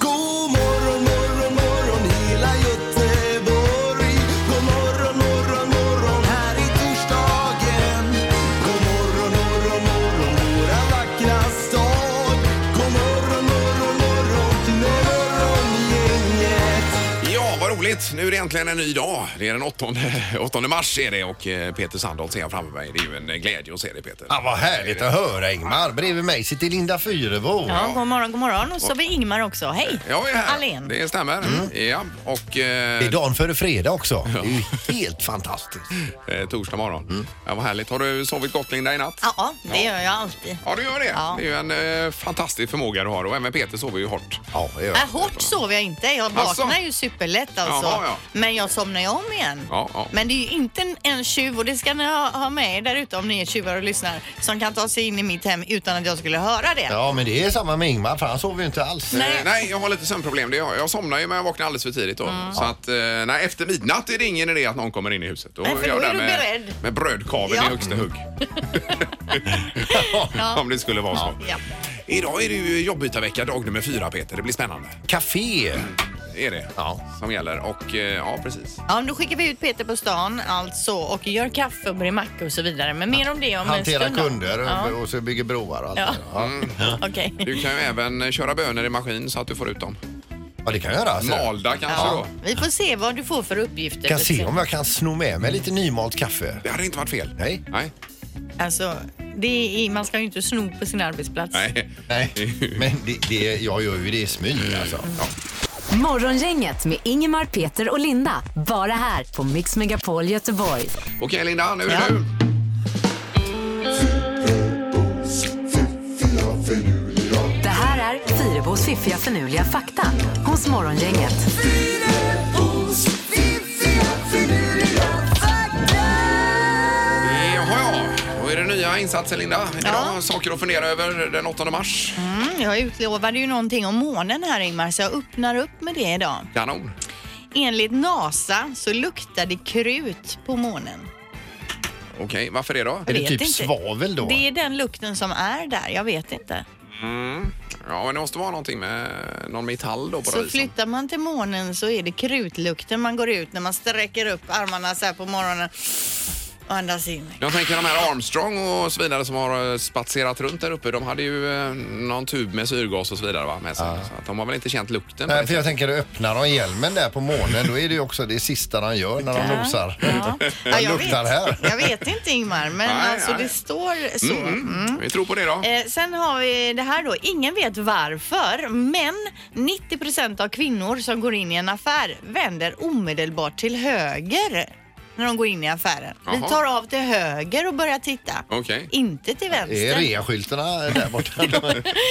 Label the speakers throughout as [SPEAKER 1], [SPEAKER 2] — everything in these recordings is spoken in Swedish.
[SPEAKER 1] God morgon morgon morgon hela Göteborg. God morgon morgon morgon här i torsdagen. God morgon morgon morgon våra vackra stad. God morgon morgon morgon morgongänget.
[SPEAKER 2] Ja, vad roligt. Nu är det äntligen en ny dag. Det är den 8, 8 mars är det och eh, Peter Sandholt ser jag framför mig. Det är ju en eh, glädje att se dig Peter.
[SPEAKER 3] Ja, vad härligt att höra Ingmar. Bredvid mig sitter Linda Fyrebo.
[SPEAKER 4] Ja, god morgon, god morgon. Och så har vi Ingmar också. Hej!
[SPEAKER 2] Jag är här.
[SPEAKER 4] Allén.
[SPEAKER 2] Det stämmer. Ja, och
[SPEAKER 3] Mm. Det
[SPEAKER 2] eh,
[SPEAKER 3] är dagen före fredag också. Det är ju helt fantastiskt.
[SPEAKER 2] eh, torsdag morgon.
[SPEAKER 3] Mm.
[SPEAKER 2] Ja, vad härligt. Har du sovit gott Linda i natt?
[SPEAKER 4] Ja, det gör jag alltid.
[SPEAKER 2] Ja, du gör det.
[SPEAKER 4] Ja.
[SPEAKER 2] Det är ju en eh, fantastisk förmåga du har och även Peter sover ju hårt.
[SPEAKER 3] Ja, det gör
[SPEAKER 4] Äh, hårt sover jag inte. Jag
[SPEAKER 2] Alltså?
[SPEAKER 4] vaknar ju superlätt alltså.
[SPEAKER 2] Jaha, ja.
[SPEAKER 4] Men jag somnar ju om igen.
[SPEAKER 2] Ja, ja.
[SPEAKER 4] Men det är ju inte en, en tjuv, och det ska ni ha, ha med er där ute om ni är tjuvar och lyssnar, som kan ta sig in i mitt hem utan att jag skulle höra det.
[SPEAKER 3] Ja, men det är samma med Ingmar för han sover ju inte alls.
[SPEAKER 4] Nej.
[SPEAKER 2] Eh, Nej, jag har lite sömnproblem. Det är Jag, jag somnar ju men jag vaknar alldeles för tidigt då.
[SPEAKER 4] Mm.
[SPEAKER 2] Så att, eh, nej, efter midnatt är det ingen idé att någon kommer in i huset.
[SPEAKER 4] Nej, för
[SPEAKER 2] jag
[SPEAKER 4] då är
[SPEAKER 2] där
[SPEAKER 4] du
[SPEAKER 2] med,
[SPEAKER 4] beredd.
[SPEAKER 2] Med brödkaveln
[SPEAKER 4] Ja.
[SPEAKER 2] i högsta hugg. Om det skulle vara så.
[SPEAKER 4] Ja.
[SPEAKER 2] Idag är det ju jobbytarvecka, dag nummer fyra Peter. Det blir spännande.
[SPEAKER 3] Café.
[SPEAKER 2] Det är det
[SPEAKER 3] Ja.
[SPEAKER 2] som gäller. Och eh, ja, precis.
[SPEAKER 4] Ja, då skickar vi ut Peter på stan alltså och gör kaffe och brer mackor och så vidare. Men mer om det om
[SPEAKER 3] Hanterar
[SPEAKER 4] en stund. då.
[SPEAKER 3] kunder
[SPEAKER 4] Ja,
[SPEAKER 3] och så bygger broar och allt
[SPEAKER 4] Ja. Mm.
[SPEAKER 3] det där. ja.
[SPEAKER 4] okej.
[SPEAKER 2] Du kan ju även köra bönor i maskin så att du får ut dem.
[SPEAKER 3] ja, det kan jag göra. Alltså.
[SPEAKER 2] Malda kanske
[SPEAKER 4] Ja.
[SPEAKER 2] då.
[SPEAKER 4] Vi får se vad du får för uppgifter.
[SPEAKER 3] Kan se om jag kan sno med mig lite nymalt kaffe.
[SPEAKER 2] Det hade inte varit fel.
[SPEAKER 3] Nej.
[SPEAKER 2] Nej.
[SPEAKER 4] Alltså, det är, man ska ju inte sno på sin arbetsplats.
[SPEAKER 2] Nej.
[SPEAKER 3] Nej, men det, det, jag gör ju det i smyg alltså.
[SPEAKER 5] Morgongänget med Ingemar, Peter och Linda. Bara här på Mix Megapol Göteborg.
[SPEAKER 2] Okej Linda, nu är
[SPEAKER 4] Ja.
[SPEAKER 2] det du.
[SPEAKER 5] Det här är Fyrabos fiffiga förnuliga fakta hos Morgongänget.
[SPEAKER 2] Jaha ja, då är det nya insatser Linda. Idag saker att fundera över den 8 mars.
[SPEAKER 4] Mm, jag utlovade ju någonting om månen här Ingmar, så jag öppnar upp med det idag.
[SPEAKER 2] Kanon.
[SPEAKER 4] Enligt NASA så luktar det krut på månen.
[SPEAKER 2] Okej, varför det då?
[SPEAKER 3] Är det
[SPEAKER 4] Vet
[SPEAKER 3] typ
[SPEAKER 4] inte.
[SPEAKER 3] svavel då?
[SPEAKER 4] Det är den lukten som är där, jag vet inte.
[SPEAKER 2] Ja, men det måste vara någonting med någon metall då på
[SPEAKER 4] Så
[SPEAKER 2] något vis.
[SPEAKER 4] flyttar man till månen så är det krutlukten man går ut när man sträcker upp armarna så här på morgonen och andas in.
[SPEAKER 2] Jag tänker de här Armstrong och så vidare som har eh, spatserat runt där uppe. De hade ju eh, någon tub med syrgas och så vidare va? med sig. Så att de har väl inte känt lukten. på
[SPEAKER 3] Nej,
[SPEAKER 2] det
[SPEAKER 3] för jag tänker öppnar de hjälmen där på månen då är det ju också det sista de gör när de nosar.
[SPEAKER 4] Ja. Ja,
[SPEAKER 3] Vad
[SPEAKER 4] jag,
[SPEAKER 3] luktar
[SPEAKER 4] vet,
[SPEAKER 3] här?
[SPEAKER 4] jag vet inte Ingmar, men
[SPEAKER 2] Nej,
[SPEAKER 4] alltså
[SPEAKER 2] nej.
[SPEAKER 4] det står så. Mm.
[SPEAKER 2] Mm. Vi tror på det då.
[SPEAKER 4] Eh, sen har vi det här då. Ingen vet varför, men 90 av kvinnor som går in i en affär vänder omedelbart till höger när de går in i affären.
[SPEAKER 2] Jaha.
[SPEAKER 4] Vi tar av till höger och börjar titta.
[SPEAKER 2] Okej.
[SPEAKER 4] Inte till
[SPEAKER 3] Det är
[SPEAKER 4] vänster.
[SPEAKER 3] rea-skyltarna där borta.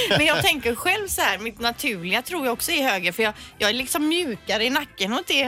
[SPEAKER 4] Men jag tänker själv så här, mitt naturliga tror jag också är höger för jag, jag är liksom mjukare i nacken åt det,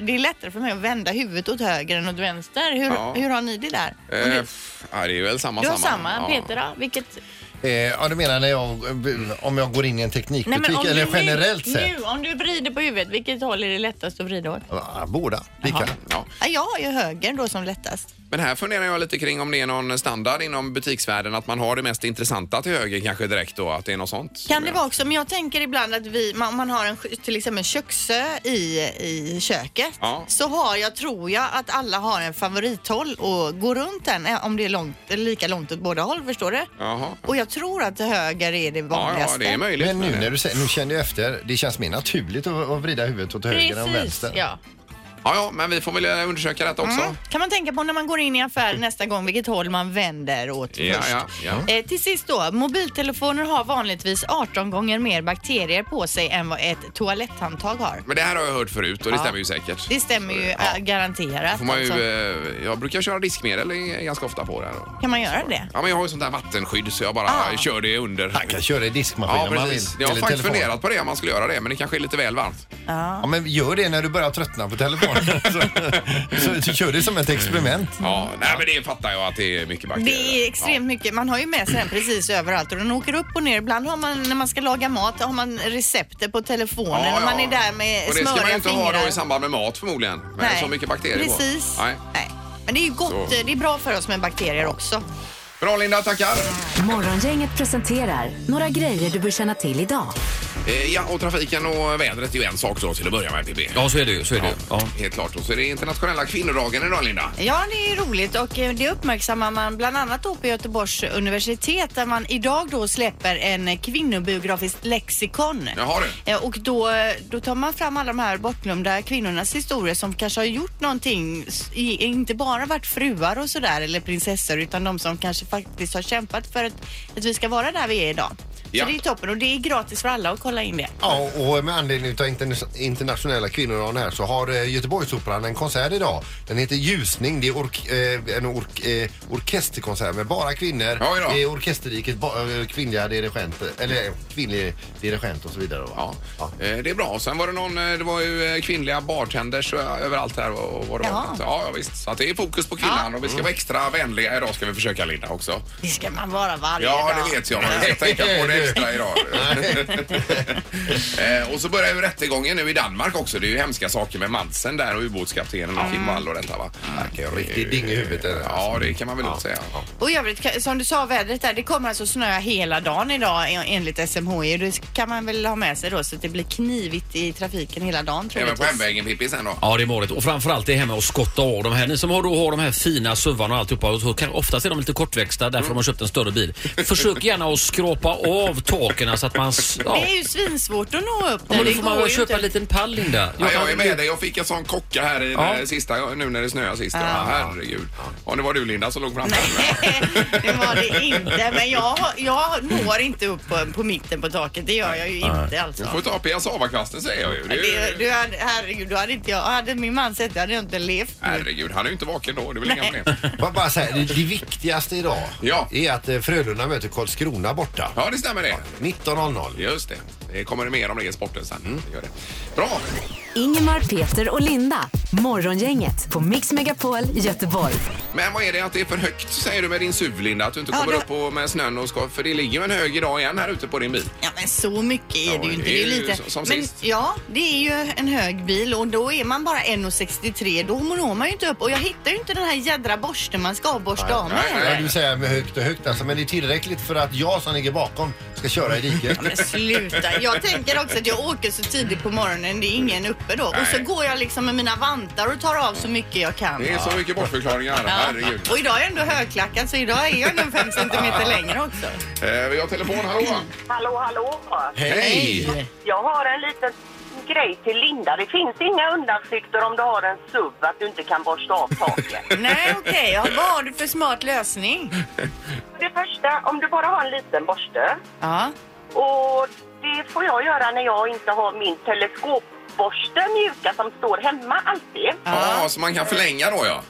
[SPEAKER 4] det är lättare för mig att vända huvudet åt höger än åt vänster. Hur,
[SPEAKER 2] Ja.
[SPEAKER 4] hur har ni det där? Och
[SPEAKER 2] Eh,
[SPEAKER 4] du-
[SPEAKER 2] f- ja, det är väl samma
[SPEAKER 4] du har
[SPEAKER 2] samma.
[SPEAKER 4] samma,
[SPEAKER 2] Ja.
[SPEAKER 4] Peter då? Vilket
[SPEAKER 3] Eh, ja, du menar när jag, om jag går in i en teknikbutik
[SPEAKER 4] om
[SPEAKER 3] eller
[SPEAKER 4] du
[SPEAKER 3] generellt
[SPEAKER 4] nu,
[SPEAKER 3] sett?
[SPEAKER 4] Nu, om du vrider på huvudet, vilket håll är det lättast att vrida åt?
[SPEAKER 3] Ja, Båda, lika.
[SPEAKER 2] Ja. Ja.
[SPEAKER 4] Ja, jag har ju höger då som lättast.
[SPEAKER 2] Men här funderar jag lite kring om det är någon standard inom butiksvärlden att man har det mest intressanta till höger kanske direkt då, att det är något sånt.
[SPEAKER 4] Kan det vara också, men jag tänker ibland att vi, man- om man har en, sk- till exempel en köksö i, i köket
[SPEAKER 2] Ja.
[SPEAKER 4] så har jag, tror jag, att alla har en favorithåll och går runt den eh, om det är långt, eller lika långt åt båda håll, förstår du?
[SPEAKER 2] Jaha.
[SPEAKER 4] Och jag tror att höger är det
[SPEAKER 2] Ja, ja,
[SPEAKER 4] vanligaste.
[SPEAKER 2] det är möjligt.
[SPEAKER 3] Men nu
[SPEAKER 2] men-
[SPEAKER 3] när du säger, nu kände jag efter, det känns mer naturligt att, att vrida huvudet åt höger än
[SPEAKER 4] Precis,
[SPEAKER 3] vänster.
[SPEAKER 4] ja.
[SPEAKER 2] Ja, ja, men vi får väl eh, undersöka detta också.
[SPEAKER 4] Mm. Kan man tänka på när man går in i affär nästa gång vilket håll man vänder åt
[SPEAKER 2] Ja,
[SPEAKER 4] först.
[SPEAKER 2] ja, ja.
[SPEAKER 4] Eh, till sist då, mobiltelefoner har vanligtvis 18 gånger mer bakterier på sig än vad ett toaletthandtag har.
[SPEAKER 2] Men det här har jag hört förut och det stämmer ju säkert.
[SPEAKER 4] Det stämmer ju
[SPEAKER 2] Ja.
[SPEAKER 4] eh, garanterat.
[SPEAKER 2] Får man ju,
[SPEAKER 4] alltså.
[SPEAKER 2] eh, jag brukar köra diskmedel i- ganska ofta på det här. då.
[SPEAKER 4] Kan man göra det?
[SPEAKER 2] Ja, men jag har ju sånt där vattenskydd så jag bara
[SPEAKER 4] Ah.
[SPEAKER 2] kör det under.
[SPEAKER 3] Han kan köra i diskmaskinen
[SPEAKER 2] Ja,
[SPEAKER 3] om han vill.
[SPEAKER 2] precis. Jag har
[SPEAKER 3] eller
[SPEAKER 2] faktiskt
[SPEAKER 3] telefonen.
[SPEAKER 2] funderat på det om man skulle göra det, men det kanske är lite väl varmt.
[SPEAKER 3] Ja, men gör det när du börjar tröttna på telefonen. Så du kör det som ett experiment.
[SPEAKER 2] Ja, nej, men det fattar jag att det är mycket bakterier.
[SPEAKER 4] Det är extremt mycket. Man har ju med sig den precis överallt och den åker upp och ner. Ibland har man, när man ska laga mat, har man recepter på telefonen
[SPEAKER 2] Ja,
[SPEAKER 4] och man
[SPEAKER 2] ja.
[SPEAKER 4] är där med
[SPEAKER 2] Och det ska man ju
[SPEAKER 4] smöriga
[SPEAKER 2] inte ha då i
[SPEAKER 4] fingrar.
[SPEAKER 2] samband med mat förmodligen. Med
[SPEAKER 4] Nej.
[SPEAKER 2] så mycket bakterier på.
[SPEAKER 4] Precis.
[SPEAKER 2] Nej.
[SPEAKER 4] Nej. Men det är ju gott.
[SPEAKER 2] Så.
[SPEAKER 4] Det är bra för oss med bakterier också.
[SPEAKER 2] Bra Linda, tackar.
[SPEAKER 5] Morgongänget presenterar några grejer du bör känna till idag.
[SPEAKER 2] Eh, ja, och trafiken och vädret är ju en sak då till att börja med PB.
[SPEAKER 6] Ja, så är det ju. Så är det. ju. Ja.
[SPEAKER 2] Helt klart. Och så är det internationella kvinnodagen idag Linda.
[SPEAKER 4] Ja, det är roligt och eh, det uppmärksammar man bland annat då på Göteborgs universitet där man idag då släpper en eh, kvinnobiografiskt lexikon.
[SPEAKER 2] Jaha du.
[SPEAKER 4] Eh, Och då, eh, då tar man fram alla de här bortglömda kvinnornas historier som kanske har gjort någonting, s- i, inte bara varit fruar och sådär eller prinsessor utan de som kanske faktiskt har kämpat för att, att vi ska vara där vi är idag.
[SPEAKER 2] Ja.
[SPEAKER 4] Så det är toppen och det är gratis för alla att kolla in det.
[SPEAKER 7] Ja, och med anledning av interna- internationella kvinnodagen här så har eh, Göteborgsoperan en konsert idag. Den heter Ljusning. Det är ork- eh, en ork- eh, orkesterkonsert med bara kvinnor.
[SPEAKER 2] Ja, idag.
[SPEAKER 7] det är orkesterriket, ba- eh, kvinnliga dirigenter, eller eh, kvinnlig dirigent och så vidare. va?
[SPEAKER 2] Ja. Eh, Det är bra. Sen var det någon, eh, det var ju eh, kvinnliga bartenders eh, överallt här och och vad det var.
[SPEAKER 4] Jaha.
[SPEAKER 2] Så, Ja, ja, visst. Så att det är fokus på kvinnan och vi ska vara extra vänliga idag ska vi försöka Linda också.
[SPEAKER 4] Det ska man vara varje
[SPEAKER 2] Ja,
[SPEAKER 4] dag.
[SPEAKER 2] det vet jag. men Jag ska tänka på det extra idag. Eh, och så börjar ju rättegången nu i Danmark också. Det är ju hemska saker med Madsen där och ubåtskaptenen och Kim Wall och detta va.
[SPEAKER 7] Riktig ding i huvudet är det,
[SPEAKER 2] Ja, det kan man väl lugnt säga.
[SPEAKER 4] Och i övrigt, ka- som du sa, vädret där, det kommer alltså snöa hela dagen idag en- enligt SMHI. Det kan man väl ha med sig då så att det blir knivigt i trafiken hela dagen
[SPEAKER 2] Även på
[SPEAKER 4] troligtvis.
[SPEAKER 2] hemvägen Pippi sen då.
[SPEAKER 6] Ja, det är målet. Och framförallt det här med att skotta av de här. Ni som har, då, har de här fina suvarna och alltihopa. Och så kan, oftast är de lite kortväxta därför de har köpt en större bil. Försök gärna att skrapa av taken så att man... s- Ja.
[SPEAKER 4] Det är ju svinsvårt att nå upp
[SPEAKER 6] Ja,
[SPEAKER 4] där.
[SPEAKER 6] men
[SPEAKER 4] Det
[SPEAKER 6] då får man
[SPEAKER 4] går
[SPEAKER 6] väl
[SPEAKER 4] ju
[SPEAKER 6] köpa en
[SPEAKER 4] inte.
[SPEAKER 6] liten pall, Linda.
[SPEAKER 2] Ja, jag
[SPEAKER 6] kan-
[SPEAKER 2] är med dig. Jag fick en sån kocka här i
[SPEAKER 6] Ja.
[SPEAKER 2] ja. sista, nu när det snöade sist.
[SPEAKER 4] Ja.
[SPEAKER 2] Herregud. Ja, det var du Linda som låg framför mig.
[SPEAKER 4] Nej, det var det inte. Men jag, jag når inte upp på, på mitten på taket. Det gör jag ju inte
[SPEAKER 2] Du
[SPEAKER 4] alltså.
[SPEAKER 2] får ta piassavakvasten säger jag ju. Det är ju-
[SPEAKER 4] Det, du hade, herregud, då hade inte jag... Hade min man sett det hade jag inte levt nu.
[SPEAKER 2] Herregud, han är ju inte vaken då. Det är väl inga
[SPEAKER 4] Nej.
[SPEAKER 2] problem.
[SPEAKER 7] Bara, bara så här, det, det viktigaste idag
[SPEAKER 2] Ja.
[SPEAKER 7] är att eh, Frölunda möter Karlskrona borta.
[SPEAKER 2] Ja, det stämmer det.
[SPEAKER 7] 19.00.
[SPEAKER 2] Just det. Det kommer mer om det i sporten sen. Mm, Det gör det. Bra!
[SPEAKER 5] Ingemar, Peter och Linda. Morgongänget på Mix Megapol Göteborg.
[SPEAKER 2] Men vad är det att det är för högt säger du med din SUV Linda? Att du inte
[SPEAKER 4] Ja,
[SPEAKER 2] kommer
[SPEAKER 4] det-
[SPEAKER 2] upp och med snön och ska... För det ligger ju en hög idag igen här ute på din bil.
[SPEAKER 4] Ja, men så mycket är
[SPEAKER 2] Ja,
[SPEAKER 4] det ju inte. Det är ju lite.
[SPEAKER 2] som
[SPEAKER 4] men,
[SPEAKER 2] sist.
[SPEAKER 4] Ja, det är ju en hög bil och då är man bara 1,63. Då når man ju inte upp. Och jag hittar ju inte den här jädra borsten man ska avborsta av med.
[SPEAKER 2] nej, nej.
[SPEAKER 7] Ja, du säger med högt och högt alltså, men det är tillräckligt för att jag som ligger bakom ska köra i diket.
[SPEAKER 4] Men sluta. Jag tänker också att jag åker så tidigt på morgonen. Det är ingen uppe då. Och
[SPEAKER 2] Nej.
[SPEAKER 4] så går jag liksom med mina vantar och tar av så mycket jag kan.
[SPEAKER 2] Det är så mycket bortförklaringar.
[SPEAKER 4] Ja.
[SPEAKER 2] Herregud.
[SPEAKER 4] Och idag är jag ändå högklackad så idag är jag ändå 5 centimeter längre också.
[SPEAKER 2] Eh, vi har telefon. Hallå?
[SPEAKER 8] Hallå, hallå!
[SPEAKER 2] Hej!
[SPEAKER 8] Jag har en liten grej till Linda. Det finns inga undanflykter om du har en SUV att du inte kan borsta av taket.
[SPEAKER 4] Nej okej, ja, vad har du för smart lösning?
[SPEAKER 8] det första, om du bara har en liten borste.
[SPEAKER 4] Ja.
[SPEAKER 8] Och det får jag göra när jag inte har min teleskopborste mjuka som står hemma alltid.
[SPEAKER 2] Ja, så man kan förlänga då ja.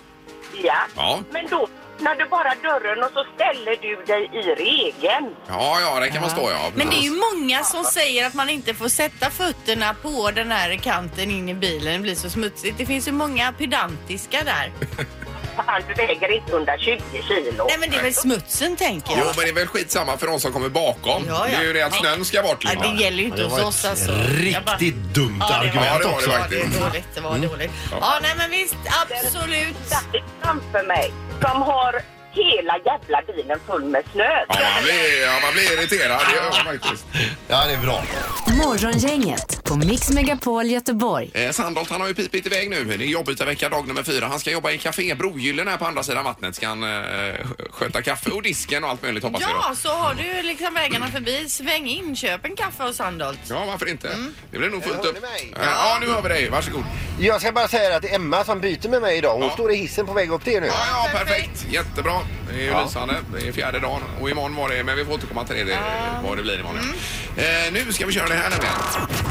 [SPEAKER 8] Ja.
[SPEAKER 2] Ja.
[SPEAKER 8] Men då öppnar du bara dörren och så ställer du dig i regeln.
[SPEAKER 2] Ja, ja, där kan man stå ja.
[SPEAKER 4] Men det är ju många som säger att man inte får sätta fötterna på den här kanten in i bilen. Det blir så smutsigt. Det finns ju många pedantiska där.
[SPEAKER 8] Fan, du väger inte 120 kilo.
[SPEAKER 4] Nej men det är väl smutsen tänker
[SPEAKER 2] Jo,
[SPEAKER 4] jag.
[SPEAKER 2] men det är väl skitsamma för de som kommer bakom.
[SPEAKER 4] Ja, ja.
[SPEAKER 2] Det är ju det att snön ska bort.
[SPEAKER 4] Ja, det gäller ju inte
[SPEAKER 7] Det
[SPEAKER 4] hos
[SPEAKER 7] var
[SPEAKER 4] oss
[SPEAKER 7] ett
[SPEAKER 4] alltså. Jag bara-
[SPEAKER 7] riktigt dumt
[SPEAKER 4] Ja, det var-
[SPEAKER 7] argument
[SPEAKER 2] det var
[SPEAKER 7] också.
[SPEAKER 4] Ja, det
[SPEAKER 2] faktiskt.
[SPEAKER 4] var dåligt. Det var dåligt. Ja, nej men visst. Absolut.
[SPEAKER 8] Det är framför mig som har hela jävla bilen full med snö.
[SPEAKER 2] Ja, man blir, ja, man blir irriterad. Det gör man faktiskt.
[SPEAKER 7] Ja, det är bra.
[SPEAKER 5] Morgongänget på Mix Megapol Göteborg.
[SPEAKER 2] Eh, Sandholt han har ju pipit iväg nu. Det är jobbytarvecka dag nummer fyra. Han ska jobba i Café Brogyllen här på andra sidan vattnet. Ska han eh, sköta kaffe och disken och allt möjligt hoppas vi då.
[SPEAKER 4] Ja, så har du liksom vägarna förbi. Sväng in, köp en kaffe och Sandholt.
[SPEAKER 2] Ja, varför inte?
[SPEAKER 9] Mm.
[SPEAKER 2] Det blir nog fullt
[SPEAKER 7] hör
[SPEAKER 2] upp.
[SPEAKER 7] ni mig?
[SPEAKER 2] Eh, Ja, nu hör vi dig. Varsågod.
[SPEAKER 7] Jag ska bara säga att det är Emma som byter med mig idag. Hon
[SPEAKER 2] Ja.
[SPEAKER 7] står i hissen på väg upp till er nu.
[SPEAKER 2] Ja, ja, perfekt. Jättebra. Det är ju lysande. Det är fjärde dagen och imorgon var det, men vi får återkomma till det, det vad det blir imorgon.
[SPEAKER 9] Mm.
[SPEAKER 2] Eh, nu ska vi köra det här nämligen.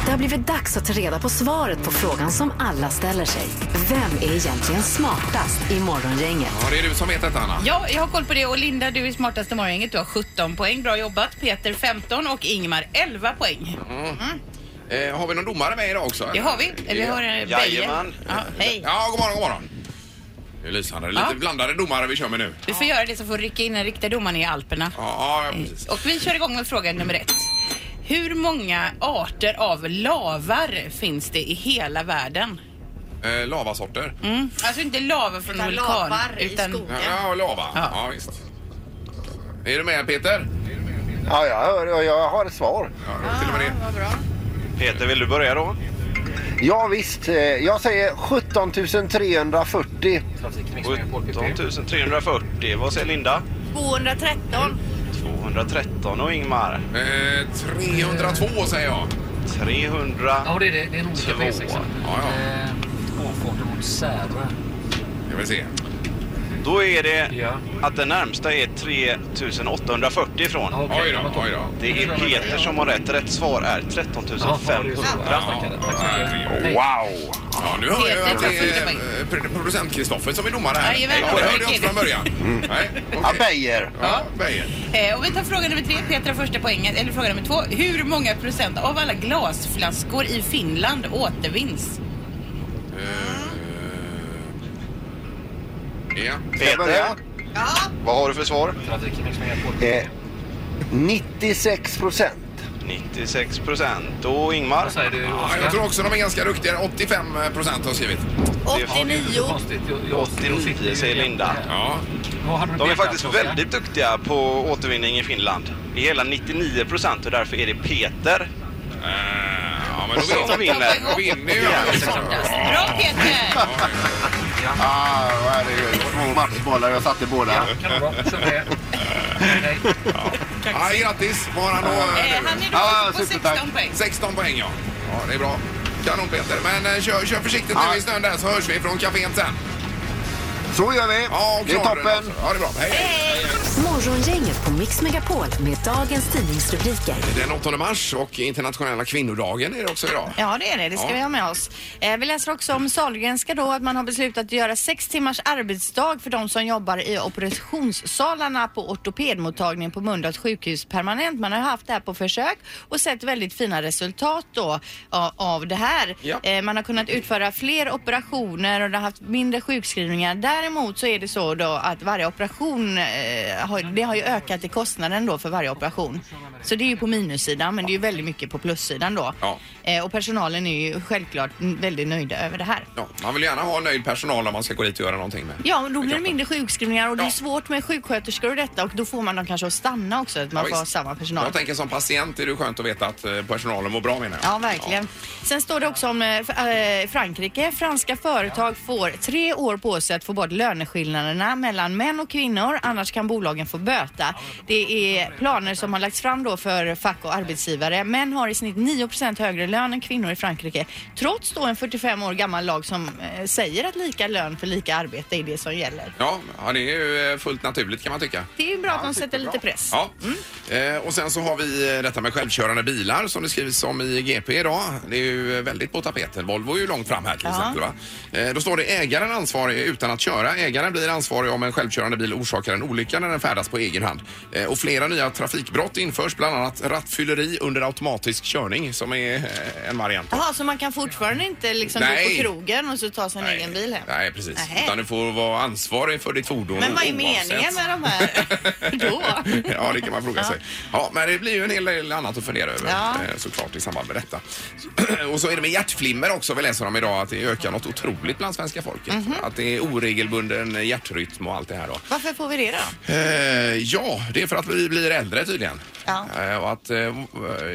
[SPEAKER 5] Det har blivit dags att ta reda på svaret på frågan som alla ställer sig. Vem är egentligen smartast i Morgongänget?
[SPEAKER 2] Ja, det är du som vet detta, Anna.
[SPEAKER 8] Ja, jag har koll på det och Linda du är smartaste morgongänget. Du har 17 poäng. Bra jobbat. Peter 15 och Ingmar 11 poäng.
[SPEAKER 2] Eh, har vi någon domare med idag också?
[SPEAKER 9] Det har vi. Vi har eh, Beijer. Ja, hej.
[SPEAKER 2] Ja, god morgon, god morgon. Det är lysande. Lite
[SPEAKER 9] Ja.
[SPEAKER 2] blandade domare vi kör med nu.
[SPEAKER 9] Du får göra det som får rycka in den riktiga domaren i Alperna.
[SPEAKER 2] Ja, ja, precis.
[SPEAKER 9] Och vi kör igång med fråga nummer ett. Hur många arter av lavar finns det i hela världen?
[SPEAKER 2] Eh, lavasorter.
[SPEAKER 9] Mm. Alltså inte lava från
[SPEAKER 2] Utan
[SPEAKER 9] en vulkan.
[SPEAKER 2] lavar i
[SPEAKER 9] utan
[SPEAKER 2] Ja, ja, lava. Ja. visst. Är du med Peter?
[SPEAKER 3] Ja, jag, hör, jag, jag har ett svar.
[SPEAKER 9] Vad bra.
[SPEAKER 10] Peter, vill du börja då?
[SPEAKER 3] Ja, visst. eh, Jag säger 17 340.
[SPEAKER 2] typ.
[SPEAKER 10] 17 340. Vad säger Linda?
[SPEAKER 9] 213.
[SPEAKER 10] 213 och Ingmar?
[SPEAKER 2] 302 Eh, säger jag.
[SPEAKER 10] 300.
[SPEAKER 11] Ja, det är det. Det är en olika på E6.
[SPEAKER 2] Ja, ja.
[SPEAKER 11] Avfarten mot Säve.
[SPEAKER 2] Jag vill se.
[SPEAKER 10] Då är det att den närmsta är 3840 ifrån.
[SPEAKER 2] Okej, Oj då, oj då.
[SPEAKER 10] Det är Peter som har rätt. Rätt svar är 13 500.
[SPEAKER 2] Wow! Ja, nu hör jag
[SPEAKER 10] Peter,
[SPEAKER 2] att
[SPEAKER 10] tack
[SPEAKER 2] det
[SPEAKER 10] för
[SPEAKER 2] är eh, pro- producent Kristoffer som är domare här.
[SPEAKER 9] Jajamän,
[SPEAKER 2] Ja, det hörde jag
[SPEAKER 9] Peter.
[SPEAKER 2] inte från början. Nej, okay.
[SPEAKER 3] Ja, Beijer.
[SPEAKER 2] Ja, Beijer.
[SPEAKER 9] Eh, och vi tar fråga nummer tre. Peter har första poängen. Eller fråga nummer två. Hur många procent av alla glasflaskor i Finland återvinns?
[SPEAKER 3] Peter?
[SPEAKER 9] Ja.
[SPEAKER 3] Vad har du för svar? Eh, 96 procent.
[SPEAKER 10] 96 procent. Och Ingmar? Vad säger du,
[SPEAKER 2] Ja, jag tror också de är ganska duktiga. 85 procent har skrivit.
[SPEAKER 10] 89 säger Linda. De är faktiskt väldigt duktiga på återvinning i Finland. Det är hela 99 procent och därför är det Peter
[SPEAKER 2] ja,
[SPEAKER 10] men som vinner.
[SPEAKER 2] Då vinner ju
[SPEAKER 9] Bra Peter!
[SPEAKER 3] Ah, herregud. Två matchbollar. Jag satte båda.
[SPEAKER 2] Ja, grattis! Var han då? Eh,
[SPEAKER 9] han är
[SPEAKER 3] då Ja, på 16 supertack.
[SPEAKER 9] poäng.
[SPEAKER 2] 16 poäng, ja. Ja, det är bra. Kanon Peter. Men eh, kör, kör försiktigt nu i snön där så hörs vi från kaféet sen.
[SPEAKER 3] Så gör vi.
[SPEAKER 2] Ja, och
[SPEAKER 5] Det är
[SPEAKER 2] knorren
[SPEAKER 5] toppen.
[SPEAKER 2] alltså. Ja, det är bra. Hej, hej.
[SPEAKER 5] Morgongänget på Mix Megapol med dagens tidningsrubriker.
[SPEAKER 2] Den 8 mars och internationella kvinnodagen är det också idag.
[SPEAKER 4] Ja, det är det. Det ska
[SPEAKER 2] Ja.
[SPEAKER 4] vi ha med oss. Eh, vi läser också om Sahlgrenska då, att man har beslutat att göra sex timmars arbetsdag för de som jobbar i operationssalarna på ortopedmottagningen på Mölndals sjukhus permanent. Man har haft det här på försök och sett väldigt fina resultat då a- av det här.
[SPEAKER 9] Ja.
[SPEAKER 4] Eh, man har kunnat utföra fler operationer och det har haft mindre sjukskrivningar. Däremot så är det så då att varje operation, eh, har, det har ju ökat i kostnaden då för varje operation. Så det är ju på minussidan men det är ju väldigt mycket på plussidan då. Eh, och personalen är ju självklart n- väldigt nöjda över det här.
[SPEAKER 2] Ja, man vill gärna ha nöjd personal om man ska gå dit och göra någonting med.
[SPEAKER 4] Ja, men då blir det mindre sjukskrivningar och det är svårt med sjuksköterskor och detta och då får man dem kanske att stanna också, att man
[SPEAKER 2] Ja,
[SPEAKER 4] får ha
[SPEAKER 2] visst.
[SPEAKER 4] samma personal.
[SPEAKER 2] Jag tänker som patient är det skönt att veta att eh, personalen mår bra menar jag.
[SPEAKER 4] Ja, verkligen. Sen står det också om eh, f- eh, Frankrike. Franska företag får tre år på sig att få bort löneskillnaderna mellan män och kvinnor, annars kan bolagen få böta. Det är planer som har lagts fram då för fack och arbetsgivare. Män har i snitt 9 högre lön än kvinnor i Frankrike, trots då en 45 år gammal lag som eh, säger att lika lön för lika arbete är det som gäller.
[SPEAKER 2] Ja, ja, det är ju eh, fullt naturligt kan man tycka.
[SPEAKER 4] Det är ju bra att de sätter lite press.
[SPEAKER 2] Ja.
[SPEAKER 4] Mm.
[SPEAKER 2] Eh, och sen så har vi eh, detta med självkörande bilar som det skrivs om i GP idag. Det är ju eh, väldigt på tapeten. Volvo är ju långt fram här till
[SPEAKER 12] Ja.
[SPEAKER 2] exempel. Va? Eh, då står det ägaren ansvarig utan att köra. Ägaren blir ansvarig om en självkörande bil orsakar en olycka när den färdas på egen hand. Eh, och flera nya trafikbrott införs, bland annat rattfylleri under automatisk körning som är eh, en variant.
[SPEAKER 4] Jaha, så man kan fortfarande inte liksom
[SPEAKER 2] Nej.
[SPEAKER 4] gå på krogen och så ta sin egen bil hem?
[SPEAKER 2] Nej, precis.
[SPEAKER 4] Nej.
[SPEAKER 2] Utan du får vara ansvarig för ditt fordon
[SPEAKER 4] Men vad är
[SPEAKER 2] oavsett.
[SPEAKER 4] meningen med de här?
[SPEAKER 2] ja, det kan man fråga
[SPEAKER 4] Ja.
[SPEAKER 2] sig. Ja, men det blir ju en hel del annat att fundera över
[SPEAKER 4] Ja.
[SPEAKER 2] eh, såklart i samband med detta. Och så är det med hjärtflimmer också. Vi läser om idag att det ökar något otroligt bland svenska folket.
[SPEAKER 4] Mhm.
[SPEAKER 2] Att det är oregelbunden hjärtrytm och allt det här då.
[SPEAKER 4] Varför får vi det då?
[SPEAKER 2] Eh, ja, det är för att vi blir äldre tydligen.
[SPEAKER 4] Ja.
[SPEAKER 2] Eh, och att eh,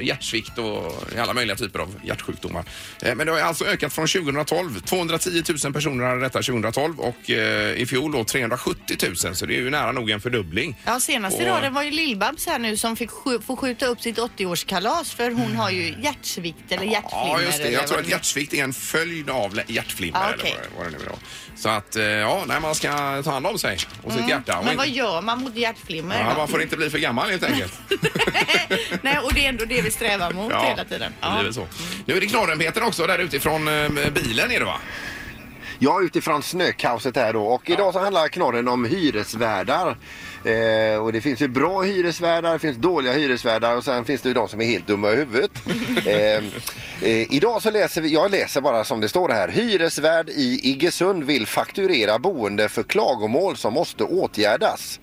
[SPEAKER 2] hjärtsvikt och alla möjliga typer av hjärtsjukdomar. Eh, men det har alltså ökat från 2012. 210 000 personer hade detta 2012 och eh, i fjol då 370 000 så det är ju nära nog en fördubbling.
[SPEAKER 4] Ja, senaste
[SPEAKER 2] Och-
[SPEAKER 4] raden var ju Lill-Babs här nu som fick skju- få skjuta upp sitt 80-årskalas för hon har ju hjärtsvikt eller hjärtflimmer.
[SPEAKER 2] Mm. Ja, just det.
[SPEAKER 4] eller
[SPEAKER 2] Jag tror
[SPEAKER 4] vad
[SPEAKER 2] att hjärtsvikt är en följd av lä- hjärtflimmer.
[SPEAKER 4] Ja, okej.
[SPEAKER 2] eller vad, vad det nu är då. Så att, eh, ja, nej, man ska ta hand om sig och sitt
[SPEAKER 4] Mm.
[SPEAKER 2] hjärta. Och
[SPEAKER 4] Men
[SPEAKER 2] in-
[SPEAKER 4] vad gör man mot hjärtflimmer?
[SPEAKER 2] ja, man får inte bli för gammal helt enkelt.
[SPEAKER 4] Nej, och det är ändå det vi strävar mot
[SPEAKER 2] Ja,
[SPEAKER 4] hela tiden.
[SPEAKER 2] Det blir väl så. Nu är det knorren Peter också där utifrån eh, bilen är det va?
[SPEAKER 7] Ja, utifrån snökaoset här då. Och idag så handlar knorren om hyresvärdar. Eh, och det finns ju bra hyresvärdar, det finns dåliga hyresvärdar och sen finns det ju de som är helt dumma i huvudet. eh, eh, idag så läser vi, jag läser bara som det står här. Hyresvärd i Iggesund vill fakturera boende för klagomål som måste åtgärdas.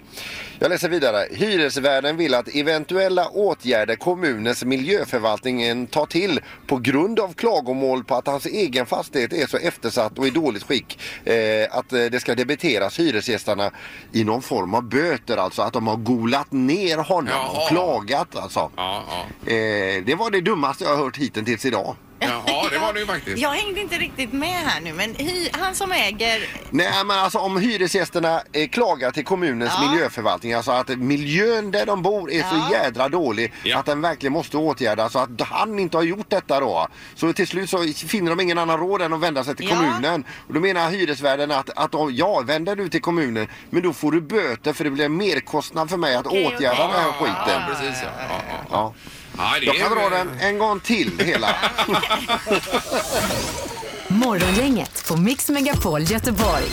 [SPEAKER 7] Jag läser vidare. Hyresvärden vill att eventuella åtgärder kommunens miljöförvaltningen tar till på grund av klagomål på att hans egen fastighet är så eftersatt och i dåligt skick eh, att eh, det ska debiteras hyresgästerna i någon form av böter. Alltså att de har golat ner honom och klagat alltså. Eh, det var det dummaste jag har hört hittills idag.
[SPEAKER 2] Jaha, det var det ju faktiskt.
[SPEAKER 4] Jag hängde inte riktigt med här nu, men hy, han som äger...
[SPEAKER 7] Nej men alltså om hyresgästerna eh, klagar till kommunens miljöförvaltning, alltså att miljön där de bor är så jädra dålig att den verkligen måste åtgärdas så att han inte har gjort detta då. Så till slut så finner de ingen annan råd än att vända sig till
[SPEAKER 4] Ja.
[SPEAKER 7] kommunen. Och då menar hyresvärden att, att om- ja, vänder du till kommunen men då får du böter för det blir en merkostnad för mig att
[SPEAKER 2] Okej,
[SPEAKER 7] åtgärda
[SPEAKER 2] okej.
[SPEAKER 7] den här
[SPEAKER 2] Ja,
[SPEAKER 7] skiten.
[SPEAKER 2] ja, precis, ja. Ja, ja.
[SPEAKER 7] Ja.
[SPEAKER 2] Ja, det
[SPEAKER 7] Jag
[SPEAKER 2] är
[SPEAKER 7] kan dra
[SPEAKER 2] ju-
[SPEAKER 7] den en gång till hela.
[SPEAKER 5] Morgongänget på Mix Megapol Göteborg.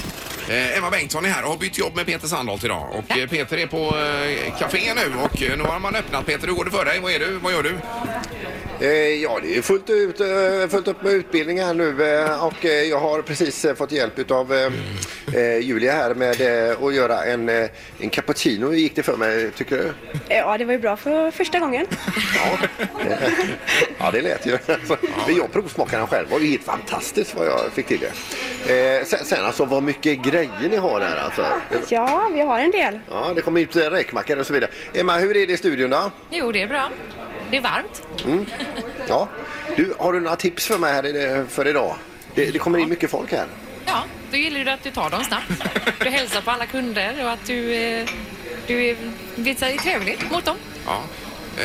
[SPEAKER 2] Eh, Emma Bengtsson är här och har bytt jobb med Peter Sandholt idag. Och eh, Peter är på eh, café nu och eh, nu har man öppnat. Peter, hur går det för dig? Vad är du? Vad gör du?
[SPEAKER 7] Eh, Ja, det är fullt, ut, eh, fullt upp med utbildning här nu eh, och eh, jag har precis eh, fått hjälp av Julia här med eh, att göra en, eh, en cappuccino. Hur gick det för mig, tycker du?
[SPEAKER 12] Ja, det var ju bra för första gången.
[SPEAKER 7] Ja, det lät ju. Alltså, Men jag provsmakade den själv. Det var ju helt fantastiskt vad jag fick till det. Eh, Sen, sen alltså, vad mycket grejer ni har här alltså.
[SPEAKER 12] Ja, vi har en del.
[SPEAKER 7] Ja, det kommer ut eh, räkmackor och så vidare. Emma, hur är det i studion då?
[SPEAKER 13] Jo, det är bra. Det är varmt.
[SPEAKER 7] Mm. Ja. Du, har du några tips för mig här i- för idag? Det, det kommer in mycket folk här.
[SPEAKER 13] Ja, då gäller det att du tar dem snabbt. Du hälsar på alla kunder och att du, eh, du är, visar dig trevlig mot dem.
[SPEAKER 2] Ja.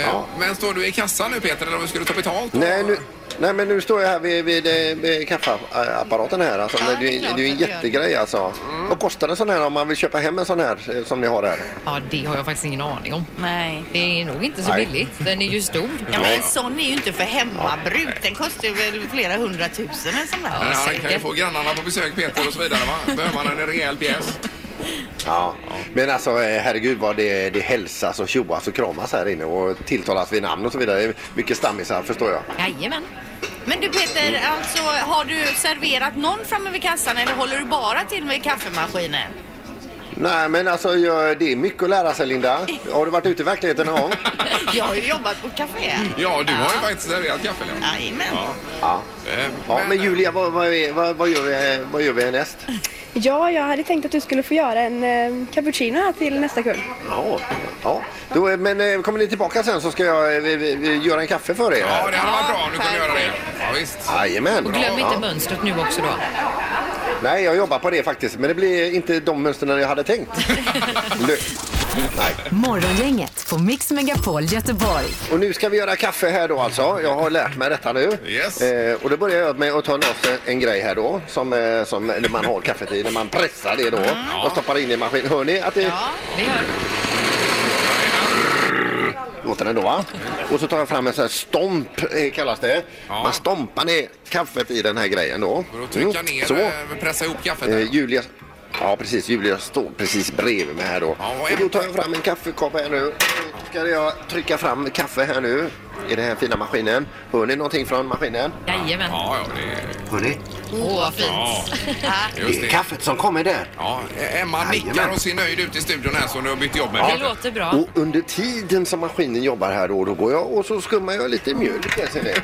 [SPEAKER 2] Eh, Men står du i kassan nu Peter eller om du skulle ta betalt?
[SPEAKER 7] Nej, nu, nej, men nu står jag här vid, vid, eh, vid kaffeapparaten här. Alltså, det, är, det är ju en jättegrej alltså.
[SPEAKER 13] Mm.
[SPEAKER 7] Vad kostar en sån här om man vill köpa hem en sån här eh, som ni har här?
[SPEAKER 13] Ja, det har jag faktiskt ingen aning om. Nej. Det är nog inte så
[SPEAKER 7] Nej.
[SPEAKER 13] billigt. Den är ju stor.
[SPEAKER 7] Ja, men en
[SPEAKER 13] sån är ju inte för hemmabruk. Den kostar ju väl flera hundratusen en sån
[SPEAKER 2] Men han kan ju få grannarna på besök Peter och så vidare va? Behöver man en rejäl pjäs?
[SPEAKER 7] Ja. Men alltså eh, herregud vad det, det hälsas och tjoas och kramas här inne och tilltalas vid namn och så vidare. Det är Mycket stammisar förstår jag.
[SPEAKER 13] Jajamän.
[SPEAKER 4] Men du Peter, alltså har du serverat någon framme vid kassan eller håller du bara till med kaffemaskinen?
[SPEAKER 7] Nej men alltså jag, det är mycket att lära sig Linda. Har du varit ute i verkligheten någon gång?
[SPEAKER 4] Jag har ju jobbat på café.
[SPEAKER 2] Ja, du har ju faktiskt serverat kaffe Leon.
[SPEAKER 4] Jajamän.
[SPEAKER 2] Ja. Eh,
[SPEAKER 7] Ja. ja men Julia vad, vad, är- vad, vad, gör, vi, eh, vad gör vi härnäst?
[SPEAKER 12] Ja, jag hade tänkt att du skulle få göra en eh, cappuccino här till nästa kund.
[SPEAKER 7] Ja, ja. Då, eh, men eh, kommer ni tillbaka sen så ska jag eh, vi- vi- vi göra en kaffe för er. Ja,
[SPEAKER 2] det hade varit bra om du kunde göra det. Ja, visst.
[SPEAKER 7] Jajamän.
[SPEAKER 13] Och glöm inte
[SPEAKER 7] Ja.
[SPEAKER 13] mönstret nu också då.
[SPEAKER 7] Nej, jag jobbar på det faktiskt. Men det blir inte de mönstren jag hade tänkt. Lö- Nej.
[SPEAKER 5] Morgongänget på Mix Megapol Göteborg.
[SPEAKER 7] Och nu ska vi göra kaffe här då alltså. Jag har lärt mig detta nu. Eh, och då börjar jag med att ta loss en- en grej här då. Som, eh, som eller man har kaffet i. När man pressar det då. Och stoppar in i maskinen. Hör ni att det... Ja,
[SPEAKER 13] det gör
[SPEAKER 7] Låter den då va? Och så tar jag fram en sån här stomp eh, kallas det. Man stompar ner kaffet i den här grejen då. Mm.
[SPEAKER 2] För att trycka ner,
[SPEAKER 7] Så.
[SPEAKER 2] eh, pressa ihop kaffet.
[SPEAKER 7] Eh, Julia, ja precis, Julia står precis bredvid mig här då. och då tar jag fram en kaffekopp här nu. Då ska jag trycka fram kaffe här nu i den här fina maskinen. Hör ni någonting från maskinen?
[SPEAKER 13] Jajamän.
[SPEAKER 2] Ja, ja, det...
[SPEAKER 7] Hör ni?
[SPEAKER 13] Åh, vad fint.
[SPEAKER 7] Det är kaffet som kommer där.
[SPEAKER 2] Ja, eh, Emma nickar
[SPEAKER 7] Jajamän.
[SPEAKER 2] och ser nöjd ut i studion här som du har bytt jobb med
[SPEAKER 7] Ja. Oh.
[SPEAKER 2] Peter.
[SPEAKER 13] låter bra.
[SPEAKER 7] Och under tiden som maskinen jobbar här då, då går jag och så skummar jag lite mjölk. Jag ser det.